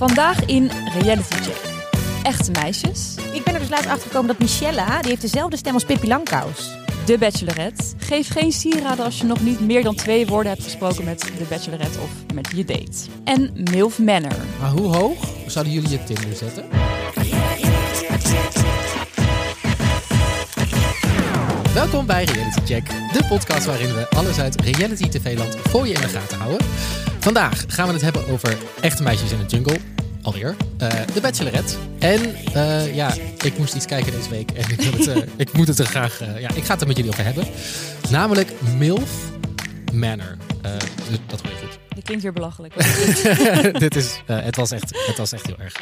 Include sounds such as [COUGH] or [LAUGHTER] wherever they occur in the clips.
Vandaag in Reality Check. Echte meisjes, Ik ben er dus laatst achter gekomen dat Michella, die heeft dezelfde stem als Pippi Langkous. de bachelorette. Geef geen sieraden als je nog niet meer dan twee woorden hebt gesproken met de bachelorette of met je date. En MILF Manor. Maar hoe hoog zouden jullie je Tinder zetten? Welkom bij Reality Check, de podcast waarin we alles uit reality tv-land voor je in de gaten houden. Vandaag gaan we het hebben over echte meisjes in de jungle. Alweer. eh, de Bachelorette. En eh, ja, ik moest iets kijken deze week. En ik, wil het, eh, ik moet het er graag... eh, ja, ik ga het er met jullie over hebben. Namelijk MILF Manor. Eh, dus dat hoor je goed. Dat klinkt weer belachelijk. Dit is, eh, het, was echt, het was echt heel erg.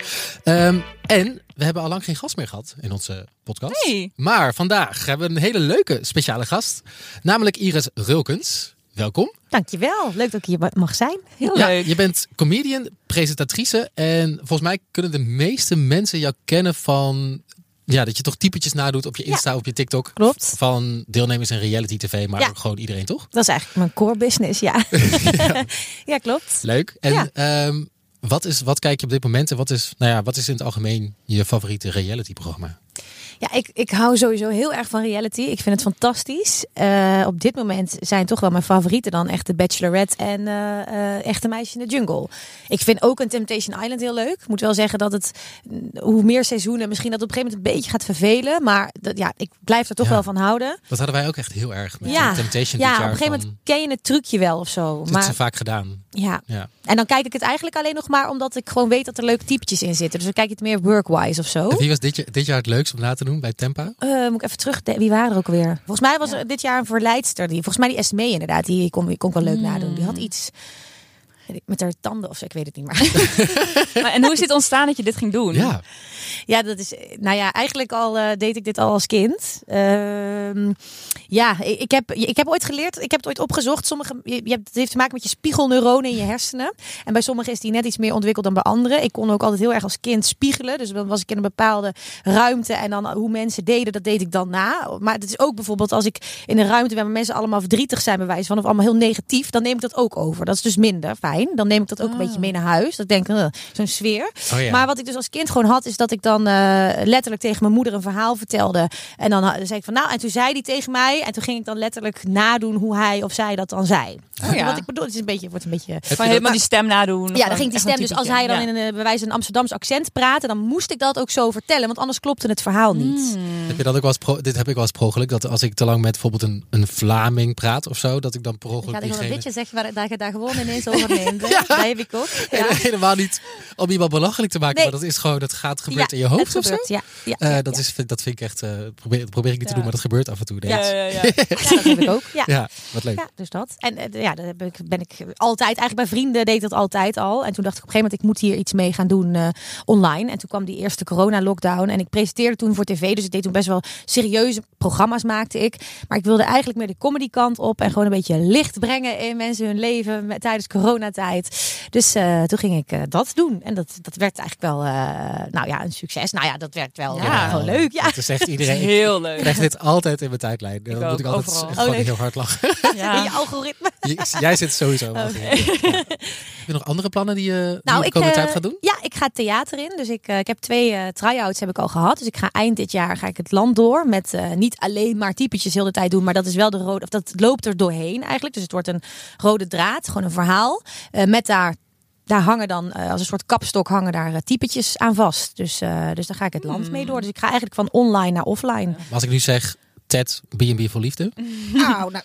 Ehm, en we hebben al lang geen gast meer gehad in onze podcast. Hey. Maar vandaag hebben we een hele leuke speciale gast. Namelijk Iris Rulkens. Welkom. Dankjewel, leuk dat ik hier mag zijn. Heel Ja, leuk. je bent comedian, presentatrice. En volgens mij kunnen de meeste mensen jou kennen van... Ja, dat je toch typetjes nadoet op je Insta, op je TikTok. Klopt. Van deelnemers in reality tv, maar Ja. ook gewoon iedereen, toch? Dat is eigenlijk mijn core business, [LAUGHS] ja. ja, klopt. Leuk. En Ja. ehm, wat, is, wat kijk je op dit moment en wat is, nou ja, wat is in het algemeen je favoriete reality-programma? Ja, ik, ik hou sowieso heel erg van reality. Ik vind het fantastisch. Eh, op dit moment zijn toch wel mijn favorieten dan echt de Bachelorette en eh, eh, Echte Meisjes in de Jungle. Ik vind ook een Temptation Island heel leuk. Ik moet wel zeggen dat het, mm, hoe meer seizoenen, misschien dat op een gegeven moment een beetje gaat vervelen. Maar dat, ja, ik blijf er toch Ja. wel van houden. Dat hadden wij ook echt heel erg met Ja, de Temptation ja, dit op jaar. een gegeven moment ken je het trucje wel of zo. dit maar ze vaak gedaan. ja. Ja. En dan kijk ik het eigenlijk alleen nog maar omdat ik gewoon weet dat er leuke typetjes in zitten. Dus dan kijk ik het meer workwise of zo. En wie was dit, jaar- dit jaar het leukst om na te doen bij Tempa? Eh, moet ik even terug. Wie waren er ook weer? Volgens mij was er dit jaar een verleidster. Die, volgens mij die Esmee inderdaad. Die kon, die kon ik wel leuk nadoen. Die had iets met haar tanden of zo. Ik weet het niet [LAUGHS] meer. Maar, en hoe is dit ontstaan dat je dit ging doen? Ja, Ja, dat is. Nou ja, eigenlijk al eh, deed ik dit al als kind. Ehm, ja, ik ik heb, ik heb ooit geleerd, ik heb het ooit opgezocht. Sommige, je, je hebt, het heeft te maken met je spiegelneuronen in je hersenen. En bij sommigen is die net iets meer ontwikkeld dan bij anderen. Ik kon ook altijd heel erg als kind spiegelen. Dus dan was ik in een bepaalde ruimte. En dan hoe mensen deden, dat deed ik dan na. Maar het is ook bijvoorbeeld als ik in een ruimte ben waar mensen allemaal verdrietig zijn, bij wijze van of allemaal heel negatief, dan neem ik dat ook over. Dat is dus minder fijn. Dan neem ik dat ook een beetje mee naar huis. Dat ik denk, eh, zo'n sfeer. Oh ja. Maar wat ik dus als kind gewoon had, is dat ik dan eh, letterlijk tegen mijn moeder een verhaal vertelde. En dan ha- zei ik van nou, en toen zei die tegen mij. En toen ging ik dan letterlijk nadoen hoe hij of zij dat dan zei. Oh ja. Wat ik bedoel, het is een beetje, wordt een beetje. Van helemaal die stem nadoen. Ja, dan ging die stem. Dus als hij dan in een een eh, bij wijze een Amsterdams accent praatte, dan moest ik dat ook zo vertellen. Want anders klopte het verhaal niet. heb je dat ook wel eens pro- dit heb ik wel eens per ongeluk, Dat als ik te lang met bijvoorbeeld een, een Vlaming praat of zo, dat ik dan per ongeluk diegene- zeggen waar, daar je daar gewoon ineens over [LAUGHS] neemt. Dat heb ik ook. Nee, [LAUGHS] helemaal niet om iemand belachelijk te maken, Nee. maar dat is gewoon, dat gaat gebeurt in je hoofd of zo. Ja, ja, Eh, ja, dat, ja. is, dat vind ik echt, eh, probeer, dat probeer ik niet te Ja. doen, maar dat gebeurt af en toe. Ja, denk ik. ja, ja. ja. Ja, dat heb ik ook. Ja. Ja, wat leuk. Ja, dus dat. En eh, ja, dat heb ik, ben ik altijd, eigenlijk bij vrienden deed ik dat altijd al. En toen dacht ik op een gegeven moment, ik moet hier iets mee gaan doen eh, online. En toen kwam die eerste corona-lockdown. En ik presenteerde toen voor tv, dus ik deed toen best wel serieuze programma's maakte ik. Maar ik wilde eigenlijk meer de comedy kant op en gewoon een beetje licht brengen in mensen hun leven met, tijdens coronatijd. Dus eh, toen ging ik eh, dat doen. En dat, dat werd eigenlijk wel, eh, nou ja, een succes. Nou ja, dat werd wel Ja. eh, gewoon leuk. Ja. Het is echt [LAUGHS] iedereen. Ik Heel [LAUGHS] leuk. krijg dit altijd in mijn tijdlijn. Dan ook, moet ik altijd overal. echt Oh, gewoon leuk. heel hard lachen. [LAUGHS] In Ja. je algoritme. Je- Jij zit sowieso. wel goed. Ja. Heb je nog andere plannen die je die je de komende eh, tijd gaat doen? Ja, ik ga het theater in. Dus ik, eh, ik heb twee eh try-outs heb ik al gehad. Dus ik ga eind dit jaar ga ik het land door. Met eh, niet alleen maar typetjes heel de tijd doen. Maar dat is wel de rode. Of dat loopt er doorheen eigenlijk. Dus het wordt een rode draad. Gewoon een verhaal. eh, met daar. Daar hangen dan, eh, als een soort kapstok, hangen daar eh, typetjes aan vast. Dus, eh, dus daar ga ik het land mee door. Dus ik ga eigenlijk van online naar offline. Maar als ik nu zeg Ted, B&B voor liefde. [LAUGHS] Auw, nou,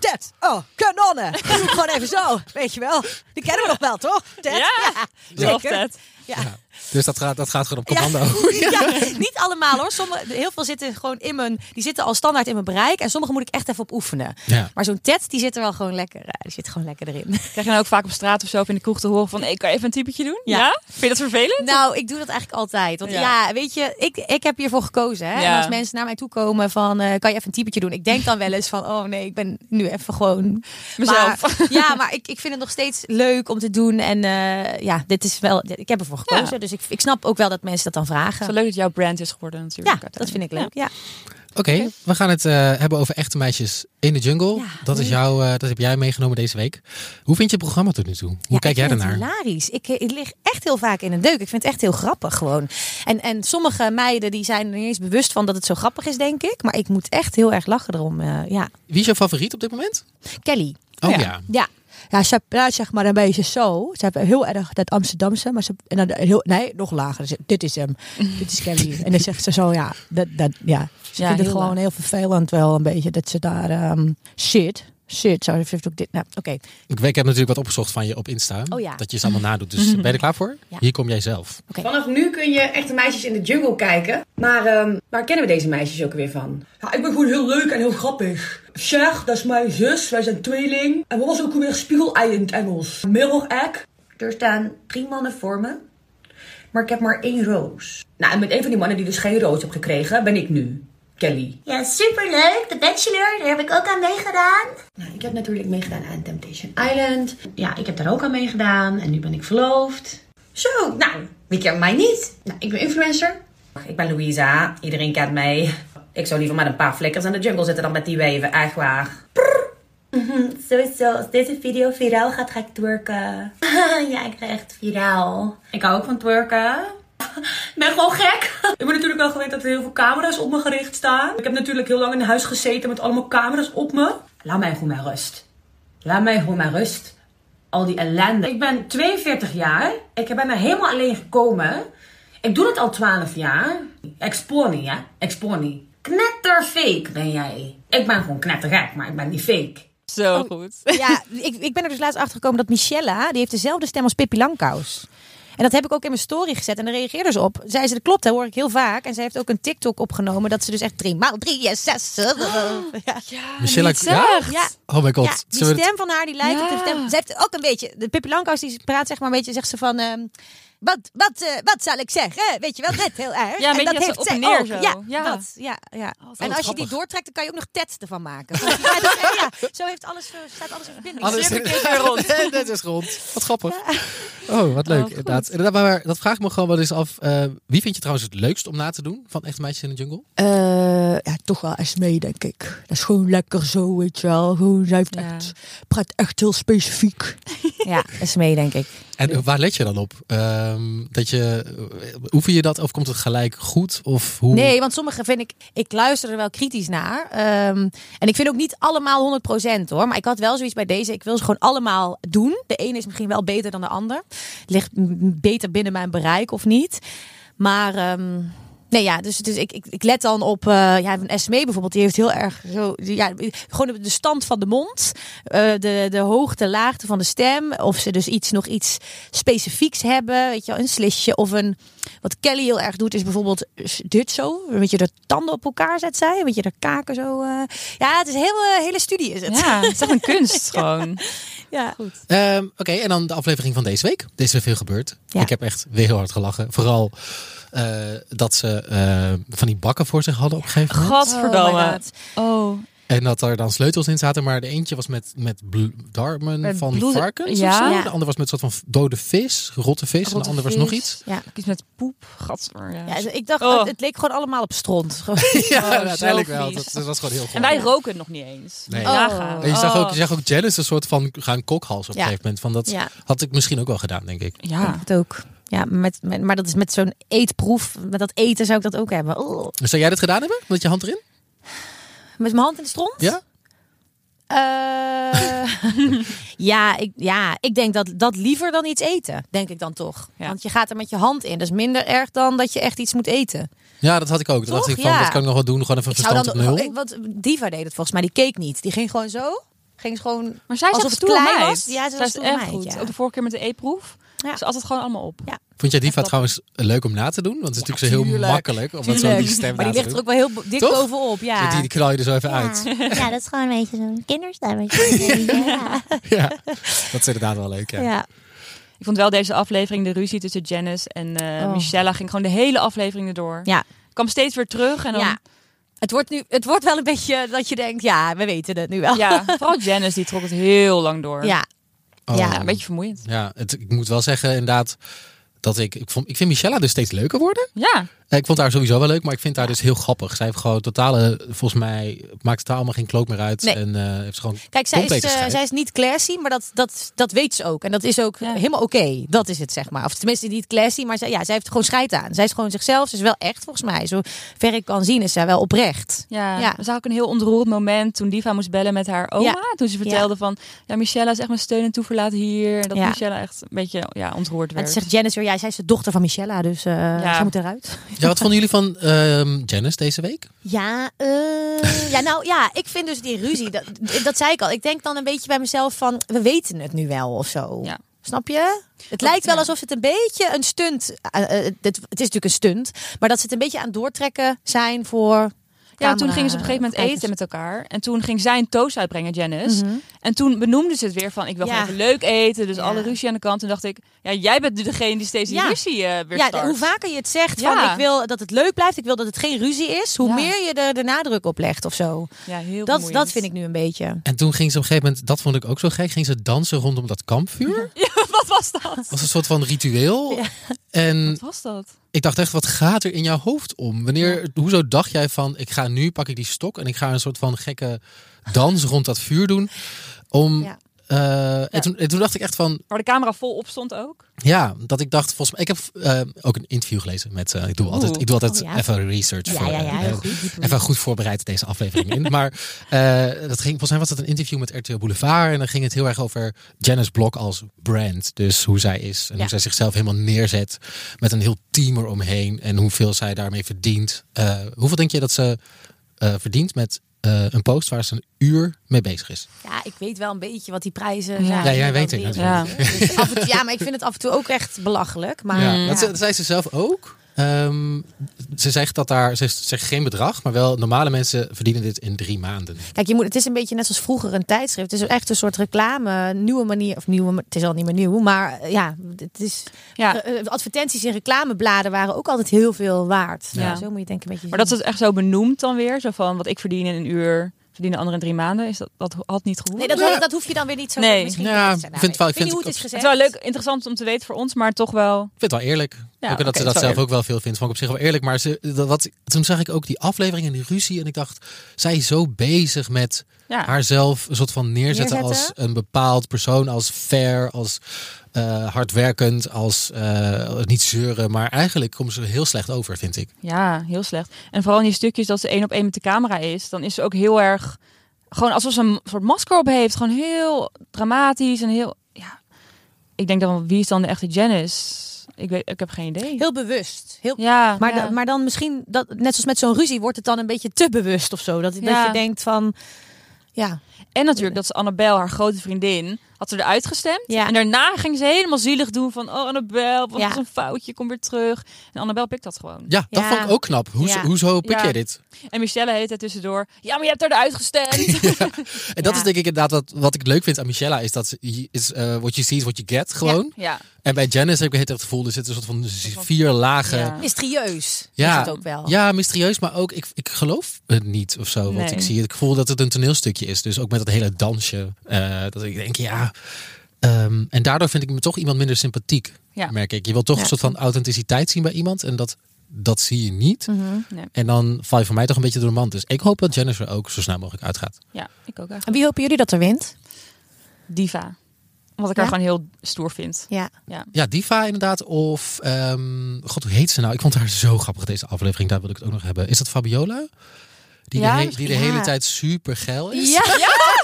Ted, oh, kanonnen. Dat doe ik gewoon even zo, weet je wel. Die kennen we nog wel, toch? Ted? Ja. Zelf het. ja. Dus dat gaat, dat gaat gewoon op Ja. commando. Ja, [LAUGHS] niet allemaal hoor. Sommige, heel veel zitten gewoon in mijn, die zitten al standaard in mijn bereik. En sommige moet ik echt even op oefenen. [LAUGHS] Ja. Maar zo'n TED, die zit er wel gewoon lekker, eh, die zit gewoon lekker erin. [LAUGHS] Krijg je nou ook vaak op straat of zo of in de kroeg te horen van... Hey, kan je even een typetje doen? Ja. Ja. Vind je dat vervelend? Nou, ik doe dat eigenlijk altijd. Want Ja. ja, weet je, ik, ik heb hiervoor gekozen. Hè? Ja. En als mensen naar mij toe komen van, eh, kan je even een typetje doen? Ik denk dan wel eens van, oh nee, ik ben nu even gewoon... Mezelf. Maar, ja, maar ik, ik vind het nog steeds leuk om te doen. En eh, ja, dit is wel, ik heb ervoor gekozen. Ja. Dus ik, ik snap ook wel dat mensen dat dan vragen. Zo leuk dat jouw brand is geworden Ja, natuurlijk. dat vind ik leuk. Ja. Oké, we gaan het eh, hebben over echte meisjes in de jungle. Ja, dat, is leuk. jouw, eh, dat heb jij meegenomen deze week. Hoe vind je het programma tot nu toe? Hoe kijk jij ik vind ernaar? Het hilarisch. Ik, eh, ik lig echt heel vaak in een deuk. Ik vind het echt heel grappig gewoon. En, en sommige meiden die zijn er niet eens bewust van dat het zo grappig is, denk ik. Maar ik moet echt heel erg lachen erom. eh, ja, Wie is jouw favoriet op dit moment? Kelly. Oh Ja. ja. Ja. Ja, ze praat zeg maar een beetje zo. Ze hebben heel erg dat Amsterdamse, maar ze en dan heel, nee, nog lager. Ze- dit is hem, dit is Kelly. En dan zegt ze zo, ja, dat, dat, ja. Ze Ja, vindt heel het gewoon laag. heel eh, vervelend wel een beetje dat ze daar ehm, zit. Zit, zo heeft ook dit. Nou, oké. Ik, weet, ik heb natuurlijk wat opgezocht van je op Insta. Oh ja. Dat je ze allemaal [LAUGHS] nadoet. Dus ben je er klaar voor? Ja. Hier kom jij zelf. Vanaf nu kun je echte meisjes in de jungle kijken. Maar ehm, waar kennen we deze meisjes ook weer van? Ja, ik ben gewoon heel leuk en heel grappig. Cher, dat is mijn zus, wij zijn tweeling. En we was ook weer spiegelei in het Engels. Mirror egg. Er staan drie mannen voor me, maar ik heb maar één roos. Nou, en met een van die mannen die dus geen roos heb gekregen, ben ik nu. Kelly. Ja, superleuk. De Bachelor, daar heb ik ook aan meegedaan. Nou, ik heb natuurlijk meegedaan aan Temptation Island. Ja, ik heb daar ook aan meegedaan en nu ben ik verloofd. Zo, nou, wie kent mij niet? Nou, ik ben influencer. Ik ben Louisa, iedereen kent mij. Ik zou liever met een paar flikkers in de jungle zitten dan met die wijven, echt waar. Mhm, Sowieso, als deze video viraal gaat, ga [LAUGHS] ik twerken. ja, ik ga echt viraal. Ik hou ook van twerken. Ik ben gewoon gek. [LAUGHS] Ik ben natuurlijk wel gewend dat er heel veel camera's op me gericht staan. Ik heb natuurlijk heel lang in huis gezeten met allemaal camera's op me. Laat mij gewoon maar rust. Laat mij gewoon maar rust. Al die ellende. Ik ben 42 jaar. Ik ben er helemaal alleen gekomen. Ik doe het al 12 jaar. Expoor niet, hè? Expoor niet. Knetterfake ben jij. Ik ben gewoon knettergek, maar ik ben niet fake. Zo Oh. goed. Ja, ik, ik ben er dus laatst achter gekomen dat Michelle, die heeft dezelfde stem als Pippi Langkous. En dat heb ik ook in mijn story gezet. En daar reageerden ze op. Zei ze, dat klopt, dat hoor ik heel vaak. En zij heeft ook een TikTok opgenomen dat ze dus echt drie maal drie en zes. eh, Oh. Ja, Michelle- niet Ja? echt. ja, Oh my god. Ah, ja, die Zullen we het- stem van haar, die lijkt op de Ja. stem. Ze heeft ook een beetje, de Pippi Langkous die praat zeg maar een beetje, zegt ze van... ehm, wat, wat, eh, wat zal ik zeggen? Weet je wel, net heel erg. Ja, een beetje en dat dat ze heeft op zij en neer ook. zo. Ja, Ja. Oh, dat. Ja, ja. wat en als je die grappig. doortrekt, dan kan je ook nog tet ervan maken. [LAUGHS] ja, dat is- ja, zo heeft alles, eh, staat alles in verbinding. Alles- Cirkel keert weer rond. [LAUGHS] Nee, Dit is rond. Wat grappig. Oh, wat leuk. goed. inderdaad. inderdaad maar dat vraagt me gewoon wel eens af. eh, wie vind je trouwens het leukst om na te doen van echte meisjes in de jungle? Eh, ja, toch wel Esmee, denk ik. Dat is gewoon lekker zo, weet je wel. Gewoon, zij heeft Ja. echt, praat echt heel specifiek. Ja, Esmee, denk ik. En eh, waar let je dan op? Ehm, dat je, eh, oefen je dat of komt het gelijk goed? Of hoe? Nee, want sommige vind ik... Ik luister er wel kritisch naar. Ehm, en ik vind ook niet allemaal 100% hoor. Maar ik had wel zoiets bij deze. Ik wil ze gewoon allemaal doen. De ene is misschien wel beter dan de ander. Ligt m- beter binnen mijn bereik of niet. Maar... ehm, Nee, ja, dus, dus ik, ik, ik let dan op eh ja, een SME bijvoorbeeld. Die heeft heel erg zo, die- ja, gewoon de stand van de mond, eh, de, de hoogte, laagte van de stem. Of ze dus iets, nog iets specifieks hebben. Weet je wel, een slisje of een. Wat Kelly heel erg doet, is bijvoorbeeld eh, dit zo. Een beetje de tanden op elkaar zet zij. Een beetje de kaken zo. eh. Ja, het is een hele, hele studie, is het. [LAUGHS] Ja, het is echt een kunst gewoon. ja. Ehm, Oké, en dan de aflevering van deze week. Er is weer veel gebeurd. Ja. Ik heb echt weer heel hard gelachen. Vooral eh, dat ze eh, van die bakken voor zich hadden op een gegeven moment. Oh my Gadverdamme. God. Oh, En dat er dan sleutels in zaten. Maar de eentje was met, met bl- darmen Met van bloed- varkens ja. of zo. Ja. De ander was met een soort van dode vis, rotte vis. en de rotte ander was vis. nog iets. Ja. Iets met poep. Gadver. Ja. Ja, dus ik dacht, Oh. het, het leek gewoon allemaal op stront. Gewoon- Ja, zo uiteindelijk wel. vies. Dat, dat was gewoon heel goed. En wij roken het nog niet eens. Nee. Moet je nagaan. En je, zag Oh. ook, je zag ook Janice een soort van gaan kokhals op Ja. een gegeven moment. Van dat Ja. had ik misschien ook wel gedaan, denk ik. Ja. Dat ook. Ja, met, met, maar dat is met zo'n eetproef. Met dat eten zou ik dat ook hebben. Oh. Dus Zou jij dat gedaan hebben? Met je hand erin? Met mijn hand in de stront? Ja? Eh, [LAUGHS] ja, ik, ja, ik denk dat dat liever dan iets eten, denk ik dan toch. Ja. Want je gaat er met je hand in. Dat is minder erg dan dat je echt iets moet eten. Ja, dat had ik ook. Dan dacht Toch? ik van, Ja. dat kan ik nog wel doen. Gewoon even Ik zou verstand dan, Oh, op nul. ik- wat Diva deed het volgens mij, die keek niet. Die ging gewoon zo. Ging gewoon Maar zij is alsof echt het stoer klein meid. was. Ja, ze zij was is stoer echt meid, goed. ja. Ook de vorige keer met de e-proef. Ja. Ze at het gewoon allemaal op. Ja. Vond jij Diva Echt trouwens leuk om na te doen? Want het is natuurlijk zo heel tuurlijk. makkelijk om dat zo Tuurlijk. die stem Maar na die ligt te er doen. ook wel heel bo- dik Toch? bovenop. Ja. Die, die knal je er zo even uit. [LAUGHS] Ja. ja, dat is gewoon een beetje zo'n [LAUGHS] kinderstemmetje. ja. Ja, dat is inderdaad wel leuk. Ja. ja. Ik vond wel deze aflevering, de ruzie tussen Janice en eh Oh. Michelle, ging gewoon de hele aflevering erdoor. Ja. Kwam steeds weer terug. En dan, Ja. ja. Het wordt, nu, het wordt wel een beetje dat je denkt, ja, we weten het nu wel. vooral Janice, die trok het heel lang door. ja. Oh. Ja, Ja, een beetje vermoeiend. Ja, het, ik moet wel zeggen, inderdaad. dat ik, ik, vond, ik vind Michelle dus steeds leuker worden. Ja, Eh, Ik vond haar sowieso wel leuk, maar ik vind haar dus heel grappig. Zij heeft gewoon totale, volgens mij, maakt totaal allemaal geen kloot meer uit. Nee. En eh, heeft ze gewoon Kijk, zij is, compleet eh, gescheiden. zij is niet classy, maar dat, dat, dat weet ze ook. En dat is ook Ja. helemaal oké. Dat is het, zeg maar. Of tenminste, niet classy, maar zij, ja, zij heeft gewoon scheid aan. Zij is gewoon zichzelf. Ze is wel echt, volgens mij. Zo ver ik kan zien, is zij wel oprecht. Ja, Ja. ja. was ook een heel ontroerend moment toen Diva moest bellen met haar oma. Ja. Toen ze vertelde van, ja, Michelle is echt mijn steun en toeverlaat hier. En dat Ja. Michelle echt een beetje ja, ontroerd En werd. toen zegt Janice, ja, zij is de dochter van Michella, dus eh, zij moet eruit. Ja, wat vonden jullie van ehm, Janice deze week? Ja, eh, ja, nou ja, ik vind dus die ruzie, dat, dat zei ik al. Ik denk dan een beetje bij mezelf van, we weten het nu wel of zo. Ja. Snap je? Het lijkt wel ja. alsof het een beetje een stunt, eh, eh, het, het is natuurlijk een stunt, maar dat ze het een beetje aan het doortrekken zijn voor ja, camera- toen gingen ze op een gegeven moment kijkers. Mhm. eten met elkaar. En toen ging zij een toast uitbrengen, Janice. En toen benoemde ze het weer van, ik wil Ja. gewoon even leuk eten. Dus Ja. alle ruzie aan de kant. Toen dacht ik, ja, jij bent nu degene die steeds die Ja. ruzie eh weer Ja, start. hoe vaker je het zegt van Ja. ik wil dat het leuk blijft, ik wil dat het geen ruzie is, hoe Ja. meer je er de nadruk op legt of zo. Ja, heel Dat, vermoeiend. dat vind ik nu een beetje. En toen ging ze op een gegeven moment, dat vond ik ook zo gek, ging ze dansen rondom dat kampvuur. [LAUGHS] Wat was dat? was een soort van ritueel. En Wat was dat? ik dacht echt, wat gaat er in jouw hoofd om? Wanneer, hoezo dacht jij van, ik ga nu, pak ik die stok en ik ga een soort van gekke dans rond dat vuur doen? Om, Ja. eh, en, Ja. toen, en toen dacht ik echt van, Waar de camera vol op stond ook. ja, dat ik dacht, volgens mij, ik heb eh, ook een interview gelezen met, eh, ik doe altijd, ik doe altijd Oh, ja. even research Ja, voor, ja, ja, eh, heel eh, goed. Even goed voorbereid deze aflevering [LAUGHS] in. Maar eh, dat ging, volgens mij was dat een interview met RTL Boulevard. En dan ging het heel erg over Janice Blok als brand. Dus hoe zij is en Ja. hoe zij zichzelf helemaal neerzet. Met een heel team eromheen. En hoeveel zij daarmee verdient. Eh, hoeveel denk je dat ze eh, verdient met eh, een post waar ze een uur mee bezig is? Ja, ik weet wel een beetje wat die prijzen Ja. Ja, zijn. jij en weet wat het weer- natuurlijk. Dus af en toe- ja, maar ik vind het af en toe ook echt belachelijk. Maar ja. ja. Dat, ze- dat zei ze zelf ook. Ehm, ze zegt dat daar, ze zegt geen bedrag, maar wel normale mensen verdienen dit in drie maanden. Kijk, je moet, het is een beetje net zoals vroeger een tijdschrift. Het is echt een soort reclame, een nieuwe manier. Of nieuwe, het is al niet meer nieuw, maar eh, ja, het is, Ja. eh, eh, advertenties in reclamebladen waren ook altijd heel veel waard. Ja. Ja. zo moet je het denk ik een beetje Maar dat ze zien. het echt zo benoemd dan weer. Zo van, wat ik verdien in een uur, verdienen anderen in drie maanden. Is dat, dat had niet gehoord. Nee, dat, Ja. dat hoef je dan weer niet zo Nee. misschien Ja, niet te ik zeggen. vind het wel- ik weet niet vind hoe het het is Het gezegd. is wel leuk, interessant om te weten voor ons, maar toch wel. Ik vind het wel eerlijk. ook dat oké, ze het dat is wel zelf ook wel veel vindt. Vond ik op zich wel eerlijk. Maar ze, dat, wat, toen zag ik ook die aflevering en die ruzie. En ik dacht, zij is zo bezig met Ja. haarzelf een soort van neerzetten, Neerzetten. als een bepaald persoon. Als fair, als eh, hardwerkend, als eh, niet zeuren. Maar eigenlijk komt ze er heel slecht over, vind ik. Ja, heel slecht. En vooral in die stukjes dat ze één op één met de camera is, dan is ze ook heel erg. Gewoon alsof ze een soort masker op heeft. Gewoon heel dramatisch en heel. Ja. Ik denk dan, wie is dan de echte Janice? Ik, weet, ik heb geen idee. Heel bewust. Heel, ja, Maar, ja. da- maar dan misschien, dat, net zoals met zo'n ruzie, wordt het dan een beetje te bewust of zo. Dat, dat Ja. je denkt van, ja, En natuurlijk dat ze Annabel, haar grote vriendin, had ze eruit gestemd. Ja. En daarna ging ze helemaal zielig doen van, oh Annabel, wat Ja. was een foutje, kom weer terug. En Annabel pikt dat gewoon. Ja, dat Ja. vond ik ook knap. Hoe, Ja. Hoezo pik Ja. jij dit? En Michelle heet het tussendoor, ja, maar je hebt eruit [LAUGHS] gestemd. En dat Ja. is denk ik inderdaad wat, wat ik leuk vind aan Michella. Is dat ze, is, eh what you see is what you get, gewoon. ja. En bij Janice heb ik het hele gevoel, er zit een soort van vier lagen... Ja. mysterieus Ja, is het ook wel. Ja, mysterieus, maar ook ik, ik geloof het niet of zo. Want Nee. ik zie het, ik voel dat het een toneelstukje is. Dus ook met dat hele dansje. eh, dat ik denk, ja. ehm, en daardoor vind ik me toch iemand minder sympathiek, Ja. merk ik. Je wil toch Ja. een soort van authenticiteit zien bij iemand. En dat, dat zie je niet. Mhm. Nee. En dan val je voor mij toch een beetje door de mand. Dus ik hoop dat Jennifer ook zo snel mogelijk uitgaat. ja, ik ook eigenlijk. En wie hopen jullie dat er wint? Diva. Wat ik Ja? haar gewoon heel stoer vind. Ja. Ja. Ja, Diva inderdaad. Of, ehm, god, hoe heet ze nou? Ik vond haar zo grappig deze aflevering. Daar wil ik het ook nog hebben. Is dat Fabiola? Die, Ja, de, he- die misschien. de hele Ja. tijd super geil is. [LAUGHS] [LAUGHS]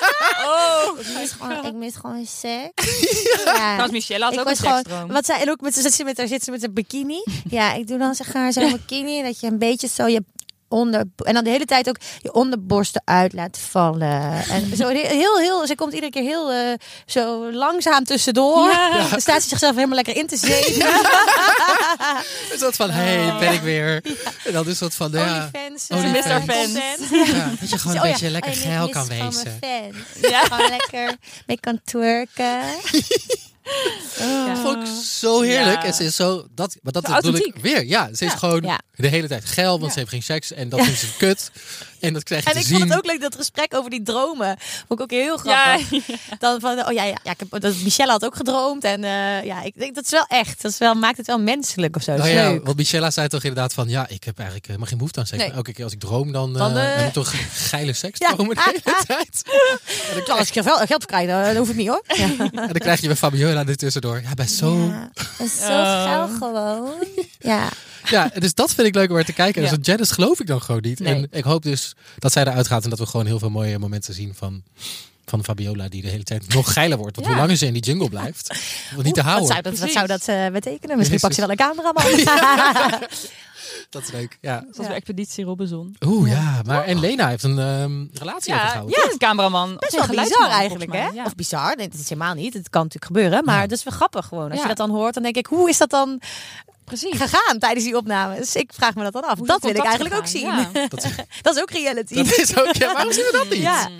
Oh. Ik mis gewoon, ik mis gewoon seks. Trouwens, Michelle had Ik ook een was gewoon, seksdroom. wat zij en ook met, zit ze met haar zit ze met een bikini. Ja, ik doe dan zeg haar zo'n bikini dat je een beetje zo je Onder, en dan de hele tijd ook je onderborsten uit laat vallen. En zo heel, heel, heel ze komt iedere keer heel eh, zo langzaam tussendoor. Dan staat ze zichzelf helemaal lekker in te zeven. Een soort van, Oh, hey, ben ik weer. En dan is dat van, ja. Onlyfans. Onlyfans. eh, Ze mist haar content. ja, dat [LAUGHS] je gewoon Oh een ja, beetje lekker Oh, je geil mist kan van wezen. [LAUGHS] mijn fans. Ja. Gewoon lekker mee kan twerken. Dat vond ik zo heerlijk. Ja. En ze is zo, dat, maar dat Zo bedoel ik authentiek. weer. Ja, ze is gewoon Ja. [LAUGHS] de hele tijd geil, want ze heeft geen seks. En dat vindt ze kut. En En dat krijg je En te ik zien. vond het ook leuk, dat gesprek over die dromen. Vond ik ook heel grappig. Dan van, oh ja, ja, ja ik heb, dat, Michelle had ook gedroomd. En eh, ja, ik denk dat is wel echt. Dat is wel, maakt het wel menselijk of zo. Dat Nou is ja, leuk. want Michela zei toch inderdaad van... Ja, ik heb eigenlijk helemaal geen behoefte aan seks. Nee. Maar elke keer als ik droom, dan, eh Dan, eh, heb ik toch geile [LAUGHS] seks Ja. dromen de hele [LAUGHS] tijd. Ja, als ik er wel geld krijg, dan, dan hoef ik niet [LAUGHS] hoor. Ja. En dan krijg je bij Fabiola er tussendoor. Ja, bij zo... Ja. Dat is zo Oh. geil gewoon. Ja. dus dat vind ik leuk om er te kijken. Ja. Dus dat Janice geloof ik dan gewoon niet. En Nee. ik hoop dus dat zij eruit gaat en dat we gewoon heel veel mooie momenten zien van... Van Fabiola, die de hele tijd nog geiler wordt. Want Ja. hoe langer ze in die jungle [LAUGHS] blijft, want niet te Wat houden. zou dat, wat zou dat eh, betekenen? Jezus. Misschien pakt ze wel een [LAUGHS] cameraman. [LAUGHS] Dat is leuk. Ja. Zoals bij Expeditie Robinson. Oeh, ja. Maar en Lena heeft een ehm, relatie Ja, aangehouden. ja, een cameraman. Best Of een wel bizar geluidsman, eigenlijk, hè? volgens mij, ja. Of bizar, nee, dat is helemaal niet. Het kan natuurlijk gebeuren, maar dat is wel grappig gewoon. Als je Ja. dat dan hoort, dan denk ik, hoe is dat dan Precies. gegaan tijdens die opnames? Ik vraag me dat dan af. Hoe is dat dat wil ik contact eigenlijk ook zien. gegaan? Ja. Dat is [LAUGHS] Dat is ook reality. Dat is ook, ja, waarom zien we dat niet? Ja, [LAUGHS]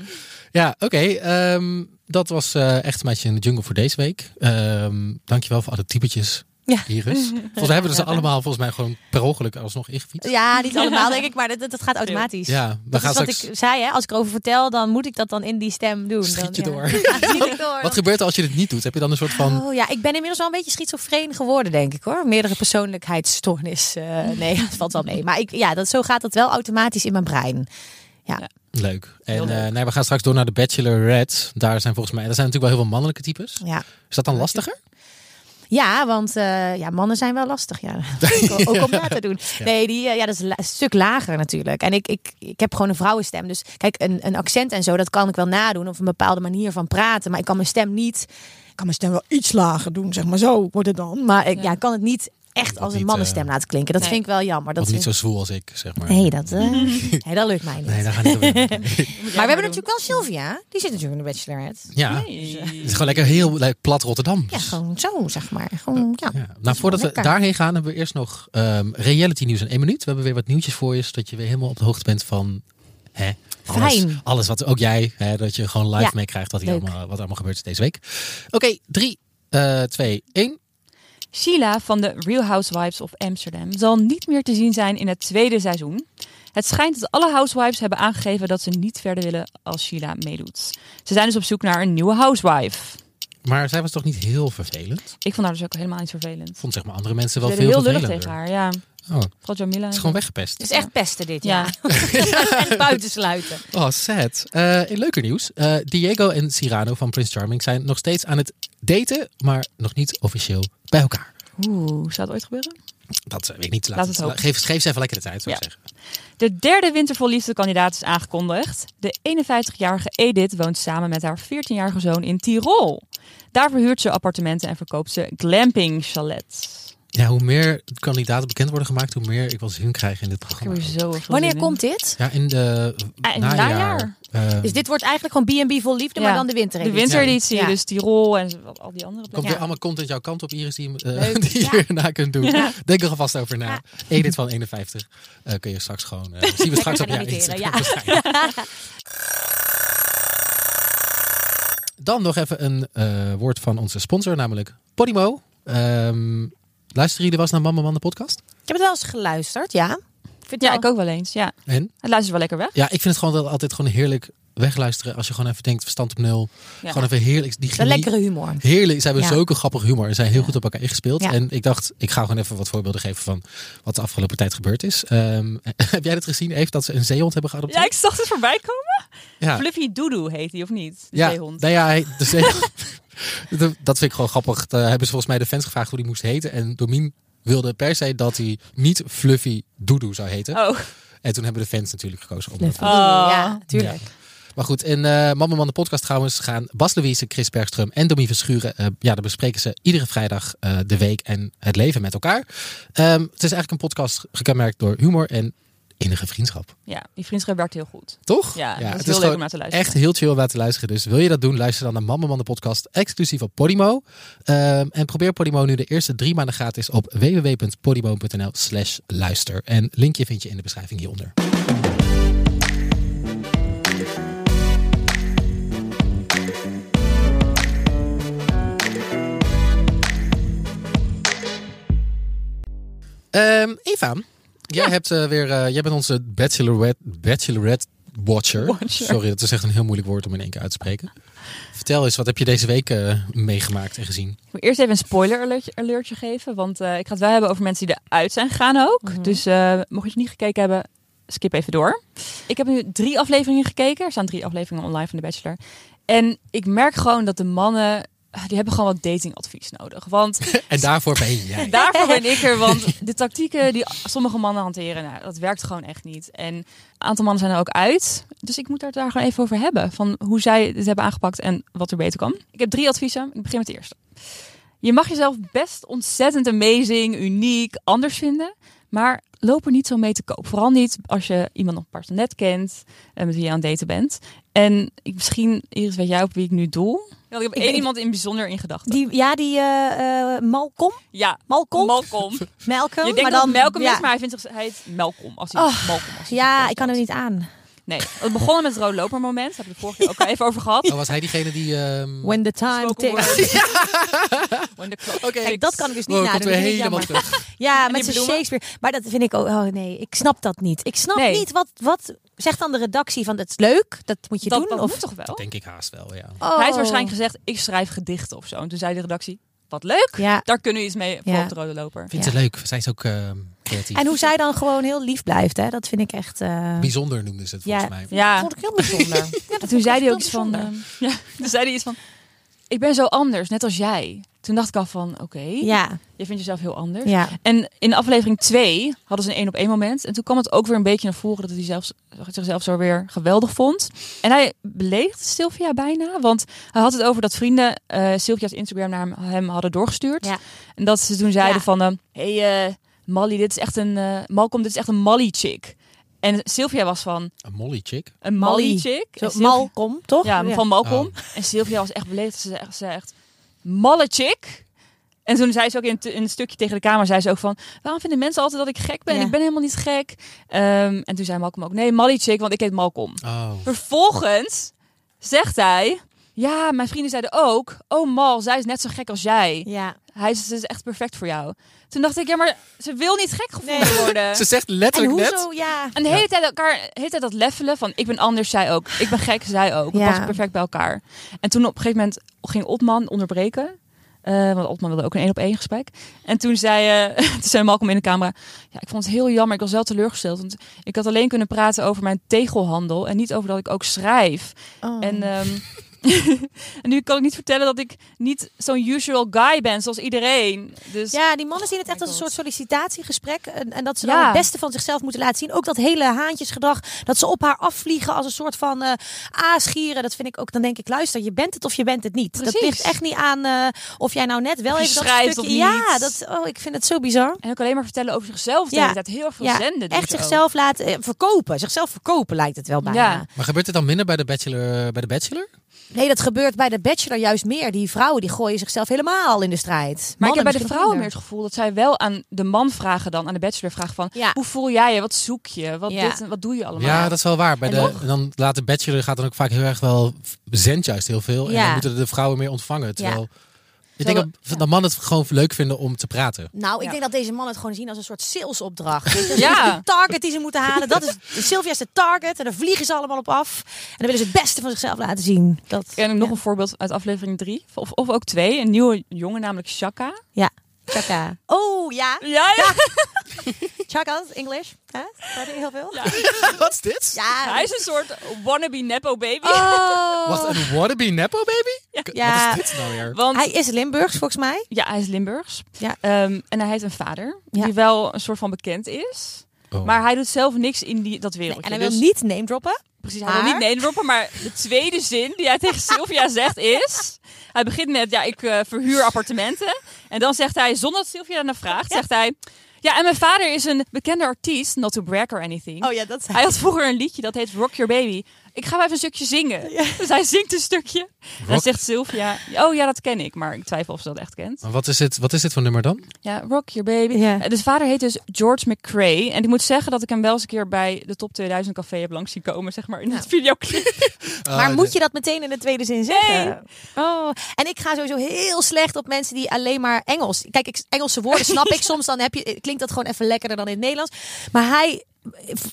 Ja. oké. ehm, dat was eh, Echt Meisje in de Jungle voor deze week. Ehm dankjewel voor alle typetjes, Ja. [LAUGHS] Iris. Volgens mij hebben we ze allemaal volgens mij gewoon per ongeluk alsnog ingefietst. Ja, niet allemaal denk ik, maar dat, dat- dat gaat automatisch. Ja, we Dat gaan is wat straks... ik zei, hè? als ik erover vertel, dan moet ik dat dan in die stem doen. Schiet Dan, je ja. door. [LAUGHS] Ja, schiet ik door. Wat gebeurt er als je dit niet doet? Heb je dan een soort van... Oh ja, ik ben inmiddels wel een beetje schizofreen geworden, denk ik hoor. Meerdere persoonlijkheidsstoornis. eh, nee, [LAUGHS] dat valt wel mee. Maar ik, ja, dat, zo gaat dat wel automatisch in mijn brein. Leuk. En Heel leuk. eh, nee, we gaan straks door naar de Bachelorette. Daar zijn volgens mij... Daar zijn natuurlijk wel heel veel mannelijke types. Ja. Is dat dan lastiger? Ja, want eh, ja, mannen zijn wel lastig. Ja. ook, ook om na te doen. Nee, die, eh, ja, dat is la- een stuk lager natuurlijk. En ik, ik, ik heb gewoon een vrouwenstem. Dus kijk, een, een accent en zo, dat kan ik wel nadoen. Of een bepaalde manier van praten. Maar ik kan mijn stem niet... Ik kan mijn stem wel iets lager doen, zeg maar. Zo wordt het dan. Maar ik ja. ik kan het niet echt Wat als een niet, mannenstem eh, laten klinken. Dat nee. vind ik wel jammer. Dat Of niet vind zo zwoel als ik, zeg maar. ik- Nee, dat, eh, nee, dat lukt mij niet. Nee, daar gaan we niet over. [LAUGHS] maar we hebben natuurlijk wel Sylvia. Die zit natuurlijk in de Bachelorette. Ja. [LAUGHS] Nee. Het is gewoon lekker heel like, plat Rotterdam. Ja, gewoon zo, zeg maar. Gewoon, ja. Ja, nou, voordat we lekker. daarheen gaan, hebben we eerst nog ehm, reality nieuws in één minuut. We hebben weer wat nieuwtjes voor je, zodat je weer helemaal op de hoogte bent van hè, alles, Fijn. alles wat ook jij, hè, dat je gewoon live Ja, meekrijgt wat, hier leuk. allemaal, wat allemaal gebeurt deze week. Oké, drie, eh, twee, één. Sheila van de Real Housewives of Amsterdam zal niet meer te zien zijn in het tweede seizoen. Het schijnt dat alle housewives hebben aangegeven dat ze niet verder willen als Sheila meedoet. Ze zijn dus op zoek naar een nieuwe housewife. Maar zij was toch niet heel vervelend? Ik vond haar dus ook helemaal niet vervelend. Ik vond zeg maar andere mensen Ze wel deden veel heel lullig vervelender. tegen haar, ja. Oh, het Vooral Jamila. is gewoon weggepest. Het is echt pesten dit, Ja. ja. [LAUGHS] en buitensluiten. Oh, sad. Eh, in leuker nieuws. eh, Diego en Cyrano van Prince Charming zijn nog steeds aan het daten, maar nog niet officieel bij elkaar. [LAUGHS] Oeh, zou het ooit gebeuren? Dat eh, weet ik niet. Laat Laat het, het hopen. geef, geef ze even lekker de tijd, zou ik Ja. zeggen. De derde winter vol liefde kandidaat is aangekondigd. De 51-jarige Edith woont samen met haar 14-jarige zoon in Tirol. Daar verhuurt ze appartementen en verkoopt ze glamping chalets. Ja, hoe meer kandidaten bekend worden gemaakt, hoe meer ik wel zin krijg in dit Ik programma. heb er zo veel zin Wanneer in. komt dit? Ja, in de Ah, in het najaar. najaar. eh, Dus dit wordt eigenlijk gewoon B&B vol liefde, Ja. maar dan de winter. De wintereditie, Ja. dus Tirol en wat- al die andere Komt plekken. weer Ja. allemaal content jouw kant op, Iris, die, eh, Leuk, [LAUGHS] die ja. je hierna kunt doen. Denk er alvast over na. Edith van 51 eh, kun je straks gewoon... eh zien we straks op jouw Lekker Instagram. navigeren, waarschijnlijk. Dan nog even een eh, woord van onze sponsor, namelijk Podimo. Ehm luisteren jullie wel eens naar Mama Man de podcast? Ik heb het wel eens geluisterd, ja. Ja, ik ook wel eens. Ja. En? Het luistert wel lekker weg. Ja, ik vind het gewoon wel altijd gewoon heerlijk wegluisteren. Als je gewoon even denkt, verstand op nul. Ja. Gewoon even heerlijk. Die De chemie- lekkere humor. Heerlijk. Ze hebben Ja. zulke grappige humor. En zijn heel goed op elkaar ingespeeld. Ja. En ik dacht, ik ga gewoon even wat voorbeelden geven van wat de afgelopen tijd gebeurd is. Ehm, [LAUGHS] heb jij dat gezien, Even dat ze een zeehond hebben Ja, geadopteerd? ik zag het voorbij komen. Ja, Fluffy Doodoo heet die, of niet? De ja. zeehond. Nou ja, hij- de [LAUGHS] zeehond. Dat- dat vind ik gewoon grappig. Daar hebben ze volgens mij de fans gevraagd hoe die moest heten. En Domien wilde per se dat hij niet Fluffy Doodoo zou heten. Oh, En toen hebben de fans natuurlijk gekozen om Fluffy. Oh. Ja, tuurlijk. Maar goed, in eh Mama Man de podcast trouwens gaan Bas Louise, Chris Bergström en Domien Verschuren. eh, ja, dan bespreken ze iedere vrijdag eh, de week en het leven met elkaar. Ehm, het is eigenlijk een podcast gekenmerkt door humor en innige vriendschap. ja. Die vriendschap werkt heel goed. Toch? Ja, dat is heel leuk gewoon om naar te luisteren. Echt heel chill om naar te luisteren. Dus wil je dat doen, luister dan naar Mama Man de podcast exclusief op Podimo. Ehm, en probeer Podimo nu de eerste drie maanden gratis op www.podimo.nl slash luister. En linkje vind je in de beschrijving hieronder. Ehm Eva, jij, hebt, eh, weer, eh, jij bent onze bachelorette, bachelorette watcher. Sorry, dat is echt een heel moeilijk woord om in één keer uit te spreken. Vertel eens, wat heb je deze week eh, meegemaakt en gezien? Ik moet eerst even een spoiler alertje, alertje geven. Want eh, ik ga het wel hebben over mensen die eruit zijn gegaan ook. Dus eh, mocht je het niet gekeken hebben, skip even door. Ik heb nu drie afleveringen gekeken. Er staan drie afleveringen online van The Bachelor. En ik merk gewoon dat de mannen... ah, Die hebben gewoon wat datingadvies nodig. Want En daarvoor ben [LAUGHS] [LAUGHS] jij. daarvoor ben ik er. Want de tactieken die sommige mannen hanteren, nou, dat werkt gewoon echt niet. En een aantal mannen zijn er ook uit. Dus ik moet daar, daar gewoon even over hebben. Van hoe zij dit hebben aangepakt en wat er beter kan. Ik heb drie adviezen. Ik begin met het eerste. Je mag jezelf best ontzettend amazing, uniek, anders vinden. Maar loop er niet zo mee te koop. Vooral niet als je iemand nog pas net kent. En met wie je aan het daten bent. En ik, misschien, Iris, weet jij op wie ik nu doel? Ja, Ik heb één weet- iemand in bijzonder in gedachten. Die, ja, die eh, eh, Malcolm. Ja, Malcolm? Malcolm. Malcolm. Je denkt maar dat dan, het Malcolm ja. is, maar hij vindt zich hij heet Malcolm. Als hij Oh, Malcolm als hij Ja, voorstelt. ik kan hem niet aan. Nee, we begonnen met het rode lopermoment. Daar hebben we het vorige keer ook al even over [LAUGHS] gehad. Oh, was hij diegene die... ehm, When the time Spoken [LAUGHS] ticks. [LAUGHS] word. When the clock Oké. ticks. Dat kan ik dus niet Wow, Oh, komt nadoen. weer dat vind ik helemaal jammer. terug. Ja, die met zijn bloemen? Shakespeare. Maar dat vind ik ook. Oh nee, ik snap dat niet. Ik snap Nee. niet wat, wat zegt dan de redactie van dat is leuk, dat moet je Dat, doen. dat of, moet toch wel? Denk ik haast wel, ja. Oh. Hij heeft waarschijnlijk gezegd, ik schrijf gedichten of zo. En toen zei de redactie, wat leuk. Ja. Daar kunnen we iets mee voor Ja. op de rode loper. Vindt Ja. ze leuk. Zij is ook ehm, creatief. En hoe zij dan gewoon heel lief blijft, hè? dat vind ik echt. eh, Bijzonder noemden ze het volgens Ja. mij. [LAUGHS] Ja, vond ik heel bijzonder. ja, En toen zei hij hij ook iets van... ehm, [LAUGHS] ja, toen zei hij iets van, ik ben zo anders, net als jij. Toen dacht ik al van, oké, Ja, je vindt jezelf heel anders. ja. En in aflevering 2 hadden ze een één op één moment. En toen kwam het ook weer een beetje naar voren dat hij zelfs, zichzelf zo weer geweldig vond. En hij beledigde Sylvia bijna. Want hij had het over dat vrienden eh Sylvia's Instagram naar hem, hem hadden doorgestuurd. Ja. En dat ze toen zeiden Ja. van... eh, hey, eh Molly, dit is echt een... eh, Malcolm, dit is echt een Molly-chick. En Sylvia was van... Een molly chick. Een Molly. Molly-chick? Zo, En Sylvia- Malcolm, toch? ja, van Malcolm. Oh. En Sylvia was echt beleefd. Ze zei- ze zei echt, malle chick. En toen zei ze ook in, t- in een stukje tegen de kamer, zei ze ook van... Waarom vinden mensen altijd dat ik gek ben? Ja. Ik ben helemaal niet gek. Ehm, en toen zei Malcolm ook, nee, Molly chick, want ik heet Malcolm. Oh. Vervolgens zegt hij... Ja, mijn vrienden zeiden ook... Oh, Mal, zij is net zo gek als jij. Ja. Hij is, ze is echt perfect voor jou. Toen dacht ik, ja, maar ze wil niet gek gevonden worden. [LAUGHS] Ze zegt En letterlijk net... hoezo, ja. En de hele tijd, elkaar, de hele tijd dat levelen van ik ben anders, zij ook. Ik ben gek, zij ook. We Ja. passen perfect bij elkaar. En toen op een gegeven moment ging Otman onderbreken. Eh, want Otman wilde ook een één op één gesprek. En toen zei, eh [LAUGHS] toen zei Malcolm in de camera... Ja, ik vond het heel jammer. Ik was wel teleurgesteld. Want ik had alleen kunnen praten over mijn tegelhandel... en niet over dat ik ook schrijf. Oh. En, ehm, [LAUGHS] [LAUGHS] en nu kan ik niet vertellen dat ik niet zo'n usual guy ben zoals iedereen. Dus Ja, die mannen zien het echt als een God. soort sollicitatiegesprek. En, en dat ze Ja. dan het beste van zichzelf moeten laten zien. Ook dat hele haantjesgedrag. Dat ze op haar afvliegen als een soort van eh aasgieren. Dat vind ik ook. Dan denk ik, luister, je bent het of je bent het niet. Dat Precies. ligt echt niet aan eh, of jij nou net wel Of je even dat schrijft stukje... of niet. Ja, dat, oh, ik vind het zo bizar. En ook alleen maar vertellen over zichzelf. De Ja. hele tijd heel erg veel Ja, zenden. doen echt ze ook. zichzelf laten eh, verkopen. Zichzelf verkopen lijkt het wel bijna. Ja. Maar gebeurt het dan minder bij de Bachelor? Bij de bachelor? Nee, dat gebeurt bij de bachelor juist meer. Die vrouwen die gooien zichzelf helemaal in de strijd. Maar Mannen ik heb bij de misschien vrouwen meer minder. het gevoel dat zij wel aan de man vragen dan, aan de bachelor vragen van... Ja. Hoe voel jij je? Wat zoek je? Wat, Ja. dit en wat doe je allemaal? Ja, dat is wel waar. Bij En de, nog? en dan laat de Bachelor gaat dan ook vaak heel erg wel... Zendt juist heel veel. En Ja. dan moeten de vrouwen meer ontvangen. Terwijl... Ik denk dat, Terwijl- dat mannen het gewoon leuk vinden om te praten. Nou, ik Ja. denk dat deze mannen het gewoon zien als een soort salesopdracht. [LAUGHS] Weet je, dat Ja. is de target die ze moeten halen. Dat is Sylvia is de target en daar vliegen ze allemaal op af. En dan willen ze het beste van zichzelf laten zien. Dat, En ook nog een voorbeeld uit aflevering 3. Of, of ook twee. Een nieuwe jongen, namelijk Shaka. ja. Chaka. Oh ja, Ja, ja. Chaka is English. Hè? Praat ik heel veel? Ja. [LAUGHS] Wat is dit? [LAUGHS] Hij is een soort wannabe nepo baby. Oh. Wacht, een wannabe nepo baby? K- Ja. Wat is dit nou weer? Want Oh. Hij is Limburgs volgens mij. ja, hij is Limburgs. Ja. Ehm, en hij heeft een vader Ja. die wel een soort van bekend is. Oh. Maar hij doet zelf niks in die, dat Nee, wereldje. en hij wil Dus- niet name droppen. Precies, hij wil Maar- niet neendroppen, maar de tweede zin die hij tegen Sylvia zegt is... Hij begint met, ja, ik eh, verhuur appartementen. En dan zegt hij, zonder dat Sylvia daarna vraagt, zegt hij... Ja, en mijn vader is een bekende artiest, not to brag or anything. Oh, ja, dat Hij had vroeger een liedje dat heet Rock Your Baby. Ik ga wel even een stukje zingen. Dus hij zingt een stukje. En dan Rock- zegt Sylvia, oh ja, dat ken ik. Maar ik twijfel of ze dat echt kent. Maar Wat is, dit, wat is dit voor nummer dan? Ja, Rock Your Baby. Ja. Eh, Dus vader heet dus George McCrae. En ik moet zeggen dat ik hem wel eens een keer bij de Top 2000 Café heb langs zien komen. Zeg maar in het videoclip. Maar Ah, moet de- je dat meteen in de tweede zin zeggen? Oh. En ik ga sowieso heel slecht op mensen die alleen maar [LAUGHS] Engels. Kijk, ik, Engelse woorden snap ik soms. Dan heb je, klinkt dat gewoon even lekkerder dan in het Nederlands. Maar hij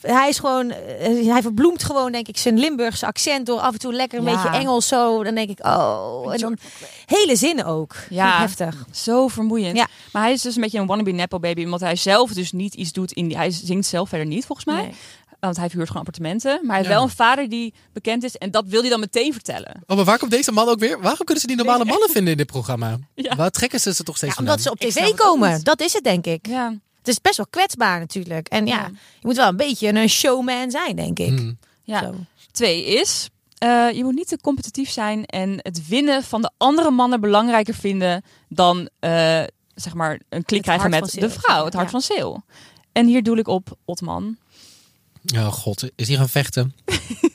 hij is gewoon, eh, hij verbloemt gewoon, denk ik, zijn Limburgse accent door af en toe lekker een Ja. beetje Engels zo. Dan denk ik, oh, en dan hele zinnen ook. Ja. Vind ik heftig. Zo vermoeiend. Ja. Maar hij is dus een beetje een wannabe nepo baby. Omdat hij zelf dus niet iets doet. In die, hij zingt zelf verder niet, volgens mij. Nee. Want hij huurt gewoon appartementen. Maar hij heeft Ja. wel een vader die bekend is. En dat wil hij dan meteen vertellen. Oh, maar waar komt deze man ook weer? Waarom kunnen ze die normale mannen vinden in dit [LAUGHS] programma? Ja. Waar trekken ze ze toch steeds Ja, vandaan? omdat ze op Ik snap tv het ook komen. niet. Dat is het, denk ik. Ja. Het is best wel kwetsbaar natuurlijk. En ja, Ja. je moet wel een beetje een showman zijn, denk ik. Hmm. ja. Zo. Twee is, eh, je moet niet te competitief zijn en het winnen van de andere mannen belangrijker vinden dan eh, zeg maar een klik Het krijgen hart met van de Zeeuw, vrouw, het hart ja. van Zeeuw. En hier doe ik op Otman. Oh god, is hier gaan vechten?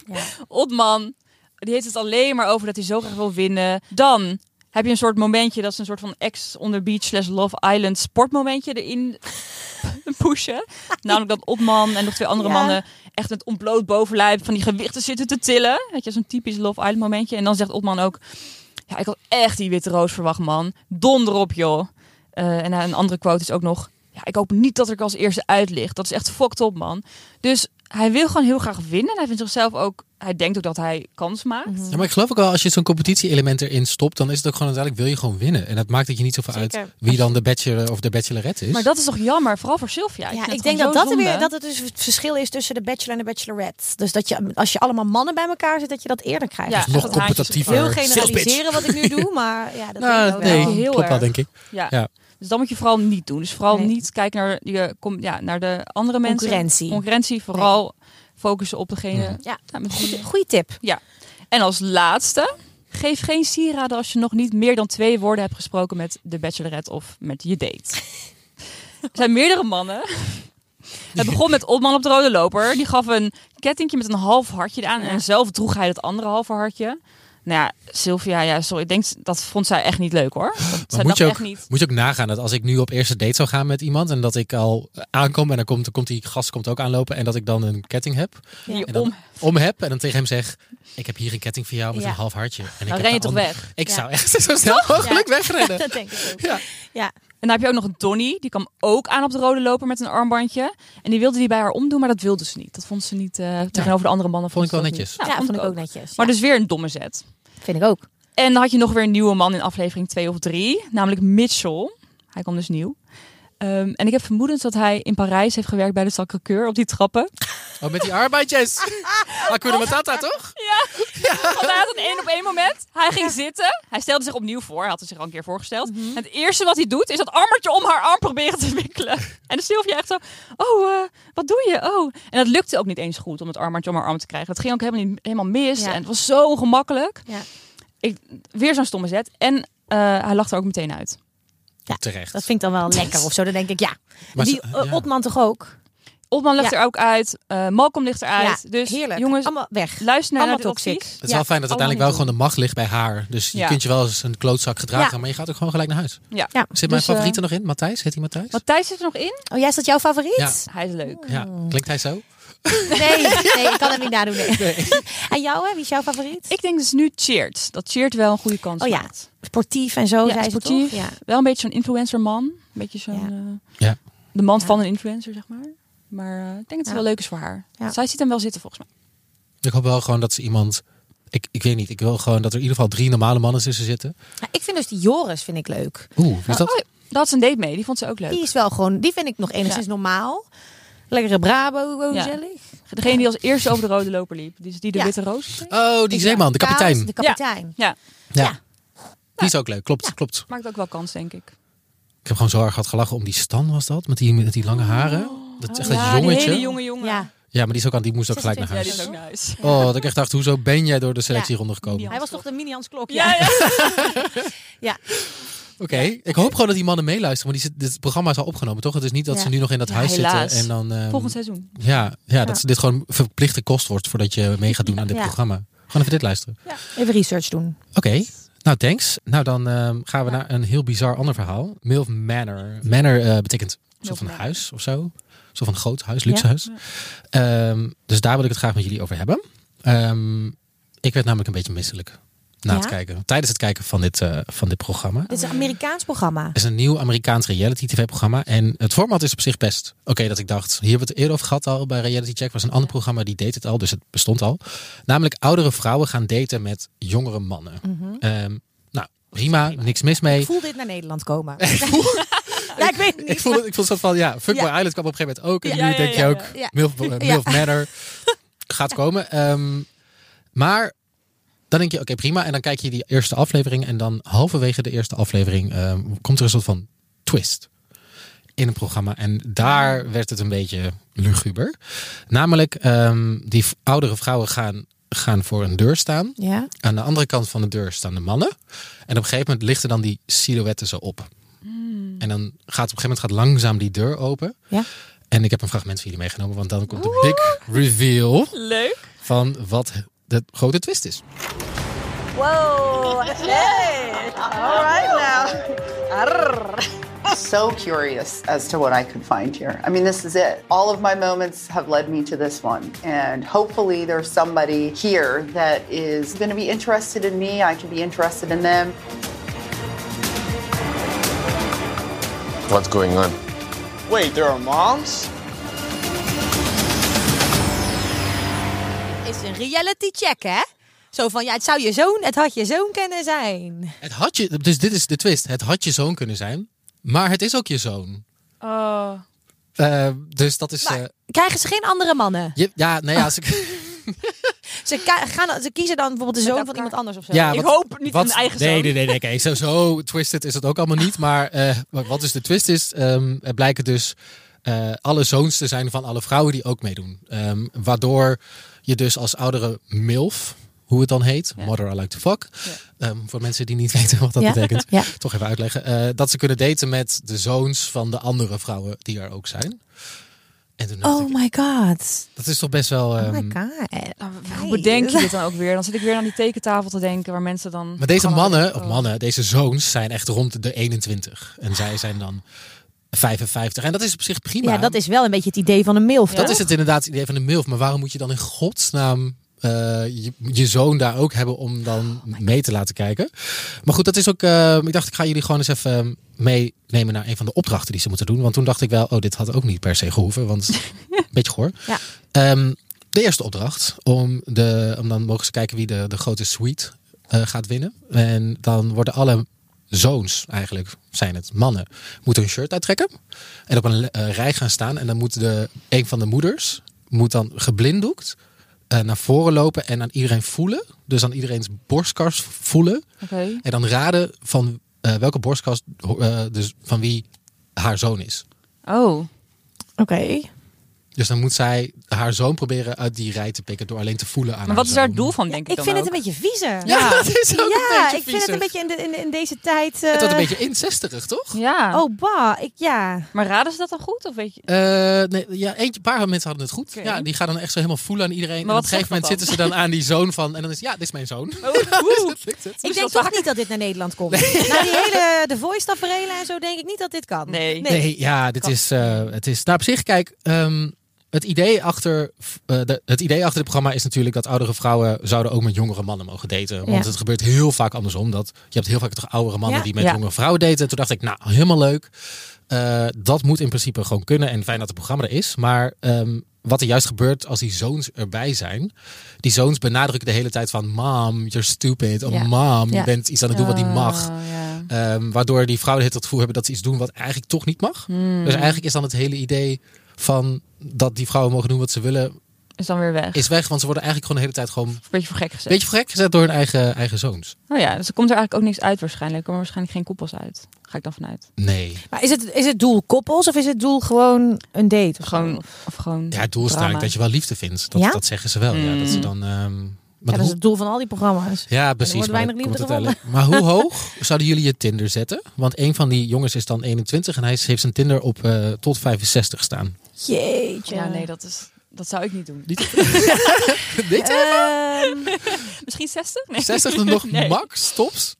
Mm. Otman, die heeft het alleen maar over dat hij zo graag wil winnen. Dan heb je een soort momentje, dat is een soort van ex on the beach slash Love Island sportmomentje erin pushen. Namelijk dat Otman en nog twee andere Ja. mannen echt met ontbloot bovenlijf van die gewichten zitten te tillen. Weet je, zo'n typisch Love Island momentje. En dan zegt Otman ook, ja, ik had echt die witte roos verwacht, man. Donder op, joh. Eh, en een andere quote is ook nog, ja, ik hoop niet dat ik als eerste uitlicht. Dat is echt fucked op, man. Dus hij wil gewoon heel graag winnen. En hij vindt zichzelf ook, hij denkt ook dat hij kans maakt. Ja, maar ik geloof ook wel, als je zo'n competitie-element erin stopt, dan is het ook gewoon uiteindelijk wil je gewoon winnen. En dat maakt dat je niet zoveel uit Zeker. wie dan de bachelor of de bachelorette is. Maar dat is toch jammer, vooral voor Sylvia. Ja, vind ik het denk dat gewoon dat, zo er weer, zonde. dat het dus het verschil is tussen de bachelor en de bachelorette. Dus dat je, als je allemaal mannen bij elkaar zit, dat je dat eerder krijgt. Ja. is nog dat haantjes- competitiever. Heel Sales generaliseren pitch. wat ik nu doe, maar [LAUGHS] ja, dat Nou, vind ik ook nee, wel. Heel klopt wel, erg. denk ik. Ja. Ja. Dus dat moet je vooral niet doen. Dus vooral Nee. niet kijken naar, je, kom, ja, naar de andere mensen. Concurrentie. Concurrentie, vooral focussen op degene. Mhm. Ja. Nou, met wie je- Goeie- Goeie tip. En als laatste, geef geen sieraden als je nog niet meer dan twee woorden hebt gesproken met de bachelorette of met je date. Er zijn meerdere mannen. Het begon met Opman op de rode loper. Die gaf een kettingje met een half hartje aan. En zelf droeg hij dat andere halve hartje. Nou ja, Sylvia, ja, sorry. Ik denk, dat vond zij echt niet leuk hoor. Dat, zij moet dacht je ook- echt niet. Moet je ook nagaan dat als ik nu op eerste date zou gaan met iemand en dat ik al eh, aankom en dan komt, komt die gast komt ook aanlopen en dat ik dan een ketting heb, Die En dan- om, om heb en dan tegen hem zeg, ik heb hier een ketting voor jou met Ja. een half hartje. En ik dan heb ren je de toch ander- weg. Ik Ja. zou echt zo snel mogelijk [LAUGHS] wegrennen. Dat denk ik ook. Ja. En dan heb je ook nog een Donny. Die kwam ook aan op de rode loper met een armbandje. En die wilde die bij haar omdoen, maar dat wilde ze niet. Dat vond ze niet eh, tegenover de andere mannen. Vond ik ze wel dat netjes. niet. Ja, vond ik ook netjes. Maar Ja, dus weer een domme zet. vind ik ook. En dan had je nog weer een nieuwe man in aflevering 2 of 3. Namelijk Mitchell. Hij kwam dus nieuw. Ehm, en ik heb vermoedens dat hij in Parijs heeft gewerkt bij de Sacré-Cœur op die trappen. Oh, met die arbeidjes. [LAUGHS] Hakuna Matata, toch? [LAUGHS] Want hij had een één op één moment. Hij ging zitten. Hij stelde zich opnieuw voor. Hij had het zich al een keer voorgesteld. Mhm. En het eerste wat hij doet is dat armertje om haar arm proberen te [LAUGHS] wikkelen. En de Sylvia echt zo. Oh, eh, wat doe je? Oh. En dat lukte ook niet eens goed om het armertje om haar arm te krijgen. Dat ging ook helemaal, niet, helemaal mis. Ja. En het was zo ongemakkelijk. Ja. Ik, weer zo'n stomme zet. En eh, hij lag er ook meteen uit. Terecht. Dat vind ik dan wel lekker of zo. Dan denk ik, ja. Maar die ze- eh, ja. Otman toch ook? Otman ligt Ja. er ook uit. eh, Malcolm ligt eruit. ja, dus heerlijk. jongens, Allemaal weg. luister naar, allemaal dit toxic. advies. Het is Ja, wel fijn dat allemaal uiteindelijk wel niet gewoon de macht ligt bij haar. Dus je Ja. kunt je wel eens een klootzak gedragen, Ja. maar je gaat ook gewoon gelijk naar huis. Ja. Ja. Zit mijn Dus, eh, favoriet er nog in? Matthijs? Heet hij Matthijs? Matthijs zit er nog in. Oh, jij is dat jouw favoriet? Ja. Hij is leuk. Ja, klinkt hij zo? Nee, nee, ik kan [LAUGHS] hem niet nadoen. nee. [LAUGHS] en jou, hè? Wie is jouw favoriet? Ik denk dus nu Cheert. Dat Cheert wel een goede kans Oh ja, maakt. sportief en zo, Ja, zei sportief. ze toch? Ja. Wel een beetje zo'n influencerman. Een beetje zo'n... eh, Ja. De man Ja. van een influencer, zeg maar. Maar eh, ik denk dat het Ja. wel leuk is voor haar. Ja. Zij ziet hem wel zitten, volgens mij. Ik hoop wel gewoon dat ze iemand... Ik, ik weet niet, ik wil gewoon dat er in ieder geval drie normale mannen tussen zitten. Ja, ik vind dus die Joris vind ik leuk. Oeh, wie is dat? Oh, daar had ze een date mee. Die vond ze ook leuk. Die is wel gewoon, die vind ik nog enigszins normaal. Lekkere Brabo, eh, gewoon Ja. gezellig. Degene die als eerste over de rode loper liep. Die is die de Ja. witte roos. kreeg. Oh, die zeeman, de Kaas, kapitein. De kapitein. Ja, Ja. Ja. Die is ook leuk, klopt, klopt. maakt ook wel kans, denk ik. Ik heb gewoon zo erg hard gelachen om die Stan, was dat? Met die, met die lange haren. Dat is echt Oh. ja, dat die jongetje. hele jonge jongen. Ja. Ja, maar die, is ook aan, die moest ook gelijk naar 26 Ja, huis. die is ook nice. Oh, dat ik echt dacht, hoezo ben jij door de selectie Ja. rondgekomen? Ja. Hij was toch de mini Hans Klok? Ja, Ja. ja. Oké, ik hoop gewoon dat die mannen meeluisteren. Want die zit- dit programma is al opgenomen, toch? Het is niet dat Ja. ze nu nog in dat Ja, huis helaas. zitten. En dan, ehm, Volgend seizoen. ja, ja, dat Ja. ze dit gewoon verplichte kost wordt voordat je mee gaat doen aan dit Ja. programma. Gewoon even dit luisteren. Even research doen. Oké, nou thanks. Nou, dan ehm, gaan we naar een heel bizar ander verhaal. Milf Manor. Manor eh, betekent een soort Milf van Manor. huis of zo. Een soort van groot huis, luxe Ja. huis. Ehm, dus daar wil ik het graag met jullie over hebben. Ehm, ik werd namelijk een beetje misselijk. na Ja? het kijken, tijdens het kijken van dit, eh, van dit programma. Dit is een Amerikaans programma. Het is een nieuw Amerikaans reality tv-programma. En het format is op zich best oké dat ik dacht. Hier hebben we het eerder over gehad al bij Reality Check. was een ander programma die deed het al, dus het bestond al. Namelijk oudere vrouwen gaan daten met jongere mannen. Ehm, nou, prima, niks mis mee. Ik voel dit naar Nederland komen. [LAUGHS] [LAUGHS] ja, ik weet het niet. Ik voel, het- ik voel het soort van, ja, Fuck Ja. My Island kwam op een gegeven moment ook. En Ja, nu ja, denk ja, je ook, ja. Milf, eh, Milf Manor gaat komen. Ehm, maar dan denk je, oké prima. En dan kijk je die eerste aflevering. En dan halverwege de eerste aflevering ehm, komt er een soort van twist in het programma. En daar werd het een beetje luguber. Namelijk, ehm, die v- oudere vrouwen gaan, gaan voor een deur staan. maar. Ja. Aan de andere kant van de deur staan de mannen. En op een gegeven moment lichten dan die silhouetten zo op. Hmm. En dan gaat op een gegeven moment gaat langzaam die deur open. Ja. En ik heb een fragment voor jullie meegenomen, want dan komt de big reveal Leuk. van wat de grote twist is. Whoa! Hey! All right now. Arr. so curious as to what I could find here. I mean, this is it. All of my moments have led me to this one. And hopefully, there's somebody here that is going to be interested in me. I can be interested in them. What's going on? Wait, there are moms? Is een reality check, hè? Zo van, ja, het zou je zoon, het had je zoon kunnen zijn. Het had je, dus dit is de twist. Het had je zoon kunnen zijn, maar het is ook je zoon. Oh. Eh, dus dat is. eh, Krijgen ze geen andere mannen? je- ja, nee, ja, als ik. Ze, ka- gaan, ze kiezen dan bijvoorbeeld de zoon van iemand anders of zo. Ja, Ik wat- hoop niet een eigen nee, zoon. Nee, nee, nee. Kijk, zo, zo twisted is het ook allemaal niet. Maar eh, wat wat dus de twist is, ehm er blijken dus eh, alle zoons te zijn van alle vrouwen die ook meedoen. Ehm, waardoor je dus als oudere MILF, hoe het dan heet, Mother I Like To Fuck. ehm, voor mensen die niet [LAUGHS] weten wat dat Ja. betekent, Ja. toch even uitleggen. eh, dat ze kunnen daten met de zoons van de andere vrouwen die er ook zijn. En toen dacht Oh ik, my god. dat is toch best wel... Oh my ehm, god. Eh, Hoe bedenk je dit dan ook weer? Dan zit ik weer aan die tekentafel te denken waar mensen dan... Maar deze gewoon mannen, al- of mannen, deze zoons zijn echt rond de 21. En zij zijn dan 55. En dat is op zich prima. Ja, dat is wel een beetje het idee van een milf, Dat toch? is het inderdaad het idee van de MILF. Maar waarom moet je dan in godsnaam eh, je, je zoon daar ook hebben om Oh dan mee te laten kijken? Maar goed, dat is ook... eh, ik dacht, ik ga jullie gewoon eens even eh, meenemen naar een van de opdrachten die ze moeten doen. Want toen dacht ik wel, oh, dit had ook niet per se [LAUGHS] gehoeven. Want een beetje goor. Ja. Ehm, de eerste opdracht, om, de, om dan mogen ze kijken wie de, de grote suite eh, gaat winnen. En dan worden alle zoons, eigenlijk zijn het mannen, moeten hun shirt uittrekken. En op een eh, rij gaan staan. En dan moet de, een van de moeders, moet dan geblinddoekt eh, naar voren lopen en aan iedereen voelen. Dus aan iedereen's borstkas voelen. Oké. En dan raden van eh, welke borstkas, eh, dus van wie haar zoon is. Oh. Oké. Dus dan moet zij haar zoon proberen uit die rij te pikken door alleen te voelen aan Maar wat is haar daar zoon. het doel van, denk Ik ik vind dan het ook? een beetje viezer. [LAUGHS] Ja, het is ook een Ja, beetje ik vind het viezig. een beetje in, de, in, in deze tijd... eh, Het wordt een beetje incesterig, toch? Ja. Oh, bah. Ik, ja. Maar raden ze dat dan goed? Of weet je... Eh, nee, ja, eentje, een paar mensen hadden het goed. Oké. Ja, die gaan dan echt zo helemaal voelen aan iedereen. Maar en op een wat gegeven zegt moment dat zitten ze dan aan die zoon van. En dan is ja, dit is mijn zoon. Dat lukt het. Ik denk toch niet dat dit [LAUGHS] naar Nederland komt. Na die hele The Voice tafereel en zo denk ik niet dat dit kan. Nee. Nee, ja, dit is, eh, het is. Nou, op zich, kijk, ehm, het, idee achter, eh, de, het idee achter het programma is natuurlijk dat oudere vrouwen zouden ook met jongere mannen mogen daten. Want Ja. het gebeurt heel vaak andersom. Dat, je hebt heel vaak toch oudere mannen Ja. die met Ja. jongere vrouwen daten. En toen dacht ik, nou, helemaal leuk. Eh, dat moet in principe gewoon kunnen. En fijn dat het programma er is. Maar ehm, wat er juist gebeurt als die zoons erbij zijn. Die zoons benadrukken de hele tijd van... Mom, you're stupid. Oh, Ja. mom, Ja. Ah. je bent iets aan het doen wat niet mag. Oh, ja. Ehm, waardoor die vrouwen het gevoel hebben dat ze iets doen wat eigenlijk toch niet mag. Hmm. Dus eigenlijk is dan het hele idee van dat die vrouwen mogen doen wat ze willen, Is dan weer weg. Is... is weg. Want ze worden eigenlijk gewoon de hele tijd gewoon Een beetje voor gek gezet. een beetje voor gek gezet door hun eigen, eigen zoons. Oh ja, dus er komt er eigenlijk ook niks uit waarschijnlijk. Er komen waarschijnlijk geen koepels uit. Ga ik dan vanuit. Nee. Maar is het, is het doel koppels of is het doel gewoon een date? Of Gewoon, zo? of gewoon Oh. Ja, het doel is drama. namelijk dat je wel liefde vindt. Dat, Ja? dat zeggen ze wel. Ja, dat ze dan... ehm, Hmm. Ja, maar dat is hoe- het doel van al die programma's. ja, precies. wordt maar weinig dan komt liefde het uiteindelijk- Maar hoe [LAUGHS] hoog zouden jullie je Tinder zetten? Want een van die jongens is dan 21 en hij is- heeft zijn Tinder op eh, tot 65 staan. Jeetje. Ja, nee, dat, is, dat zou ik niet doen. Eh. Dit? Ehm, Misschien 60? Nee. [LAUGHS] 60 dan [LAUGHS] nog Nee. max, tops?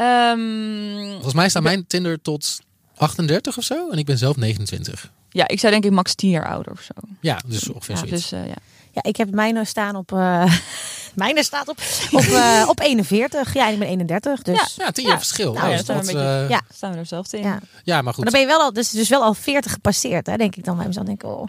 Ehm, Volgens mij staat mijn Tinder tot 38 of zo. En ik ben zelf 29. ja, ik zou denk ik max 10 jaar ouder of zo. Ja, dus ongeveer Ja, zoiets. dus eh, ja. ja, ik heb mij nou staan op eh, [LAUGHS] Mijne staat op, op, eh, op 41. Ja, en ik ben 31. Dus. Ja. Ja, tien jaar verschil. Nou, Ja, dat is wel dat, een beetje- eh, ja. Staan we er zelf in. Ja. Ja. ja, maar goed. Maar dan ben je wel al, dus, dus wel al 40 gepasseerd, hè, denk ik dan bij mezelf. Denk ik, oh,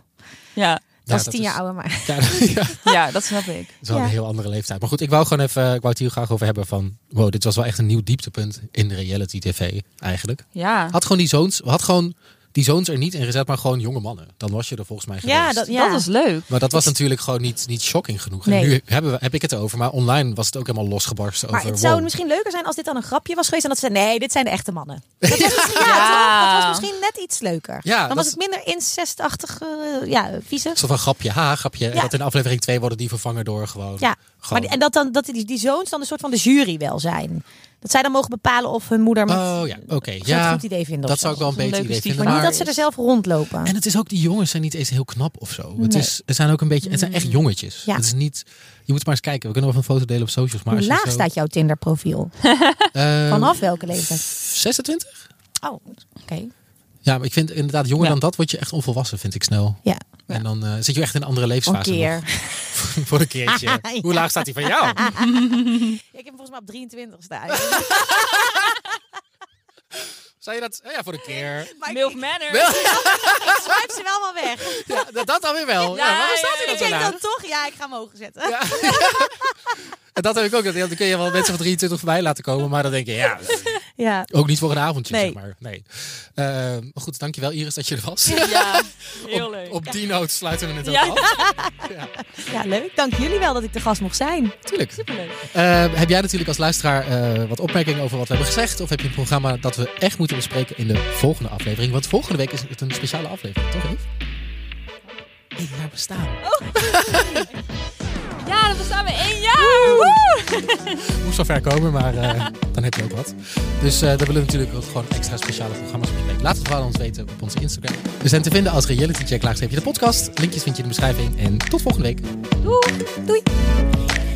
Ja. Ja, dat is Nou, dat 10 jaar is- ouder, maar. Ja, [LAUGHS] ja, dat snap ik. dat is wel Ja. een heel andere leeftijd. Maar goed, ik wou gewoon even, ik wou het hier graag over hebben van, wow, dit was wel echt een nieuw dieptepunt in de reality tv eigenlijk. Ja. Had gewoon die zoons, had gewoon die zoons er niet in gezet, maar gewoon jonge mannen. Dan was je er volgens mij geweest. Ja, dat, ja. Dat was leuk. Maar dat was natuurlijk gewoon niet, niet shocking genoeg. Nee. En nu hebben we, heb ik het erover, maar online was het ook helemaal losgebarsten maar over. het zou wow. misschien leuker zijn als dit dan een grapje was geweest. En dat ze nee, dit zijn de echte mannen. Dat was misschien, ja, [LAUGHS] Ja. toch? Dat was misschien net iets leuker. Ja, dan dat was is- het minder incestachtig, eh ja, vieze. Zo van grapje, ha, grapje. En Ja. dat in aflevering 2 worden die vervangen door gewoon... Ja, maar gewoon die- en dat, dan, dat die, die zoons dan een soort van de jury wel zijn. Dat zij dan mogen bepalen of hun moeder met, Oh ja, oké. ze het ja, een goed idee vinden. dat of zo. zou ik wel een Dat is een beter idee leuke vinden. stiefvader. Maar niet Maar... dat ze er zelf rondlopen. En het is ook, die jongens zijn niet eens heel knap of zo. Het, Nee. Mm. is, het zijn ook een beetje, het zijn echt jongetjes. Ja. Het is niet, je moet maar eens kijken. We kunnen wel even een foto delen op socials. Maar Hoe als je laag zo- staat jouw [LAUGHS] Tinder-profiel? Eh, Vanaf welke leeftijd? 26? Oh, oké. Ja, maar ik vind inderdaad, jonger Ja. dan dat word je echt onvolwassen, vind ik snel. Ja, En dan eh, zit je echt in een andere een levensfase. nog. keer. [LAUGHS] [LAUGHS] Voor een keertje. Ja. Hoe laag staat die van [LAUGHS] jou? Ik heb hem volgens mij op 23 staan. Dus Zou je dat, eh, ja, voor een keer. Maar Milf ik, Manor. Wel- ik swipe ze wel wel weg. Ja, dat, dat dan weer wel. Ja, Ja, waarom staat ja, ja, hij dat Ik zo denk laag? dan toch, ja, ik ga hem hoger zetten. Ja. En dat heb ik ook. dat- Dan kun je wel mensen van 23 voorbij laten komen. Maar dan denk je, ja, Ja. ook niet voor een avondje, Nee. zeg maar. Nee. Eh, maar goed, dankjewel Iris dat je er was. Ja, heel leuk. [LAUGHS] Op die noot sluiten we het ook Ja. af. ja, leuk. Dank jullie wel dat ik de gast mocht zijn. Tuurlijk. Superleuk. Eh, heb jij natuurlijk als luisteraar eh, wat opmerkingen over wat we hebben gezegd? Of heb je een programma dat we echt moeten bespreken in de volgende aflevering? Want volgende week is het een speciale aflevering, toch Eve? Eén jaar bestaan. Ja, dat bestaan we één jaar. Woe! moest wel ver komen, maar eh, dan heb je ook wat. Dus eh daar willen we natuurlijk ook gewoon extra speciale programma's op bespreken. Laat het vooral ons weten op onze Instagram. We zijn te vinden als [LAUGHS] Reality Check Laagstreepje de podcast. Linkjes vind je in de beschrijving. En tot volgende week. Doei. Doei.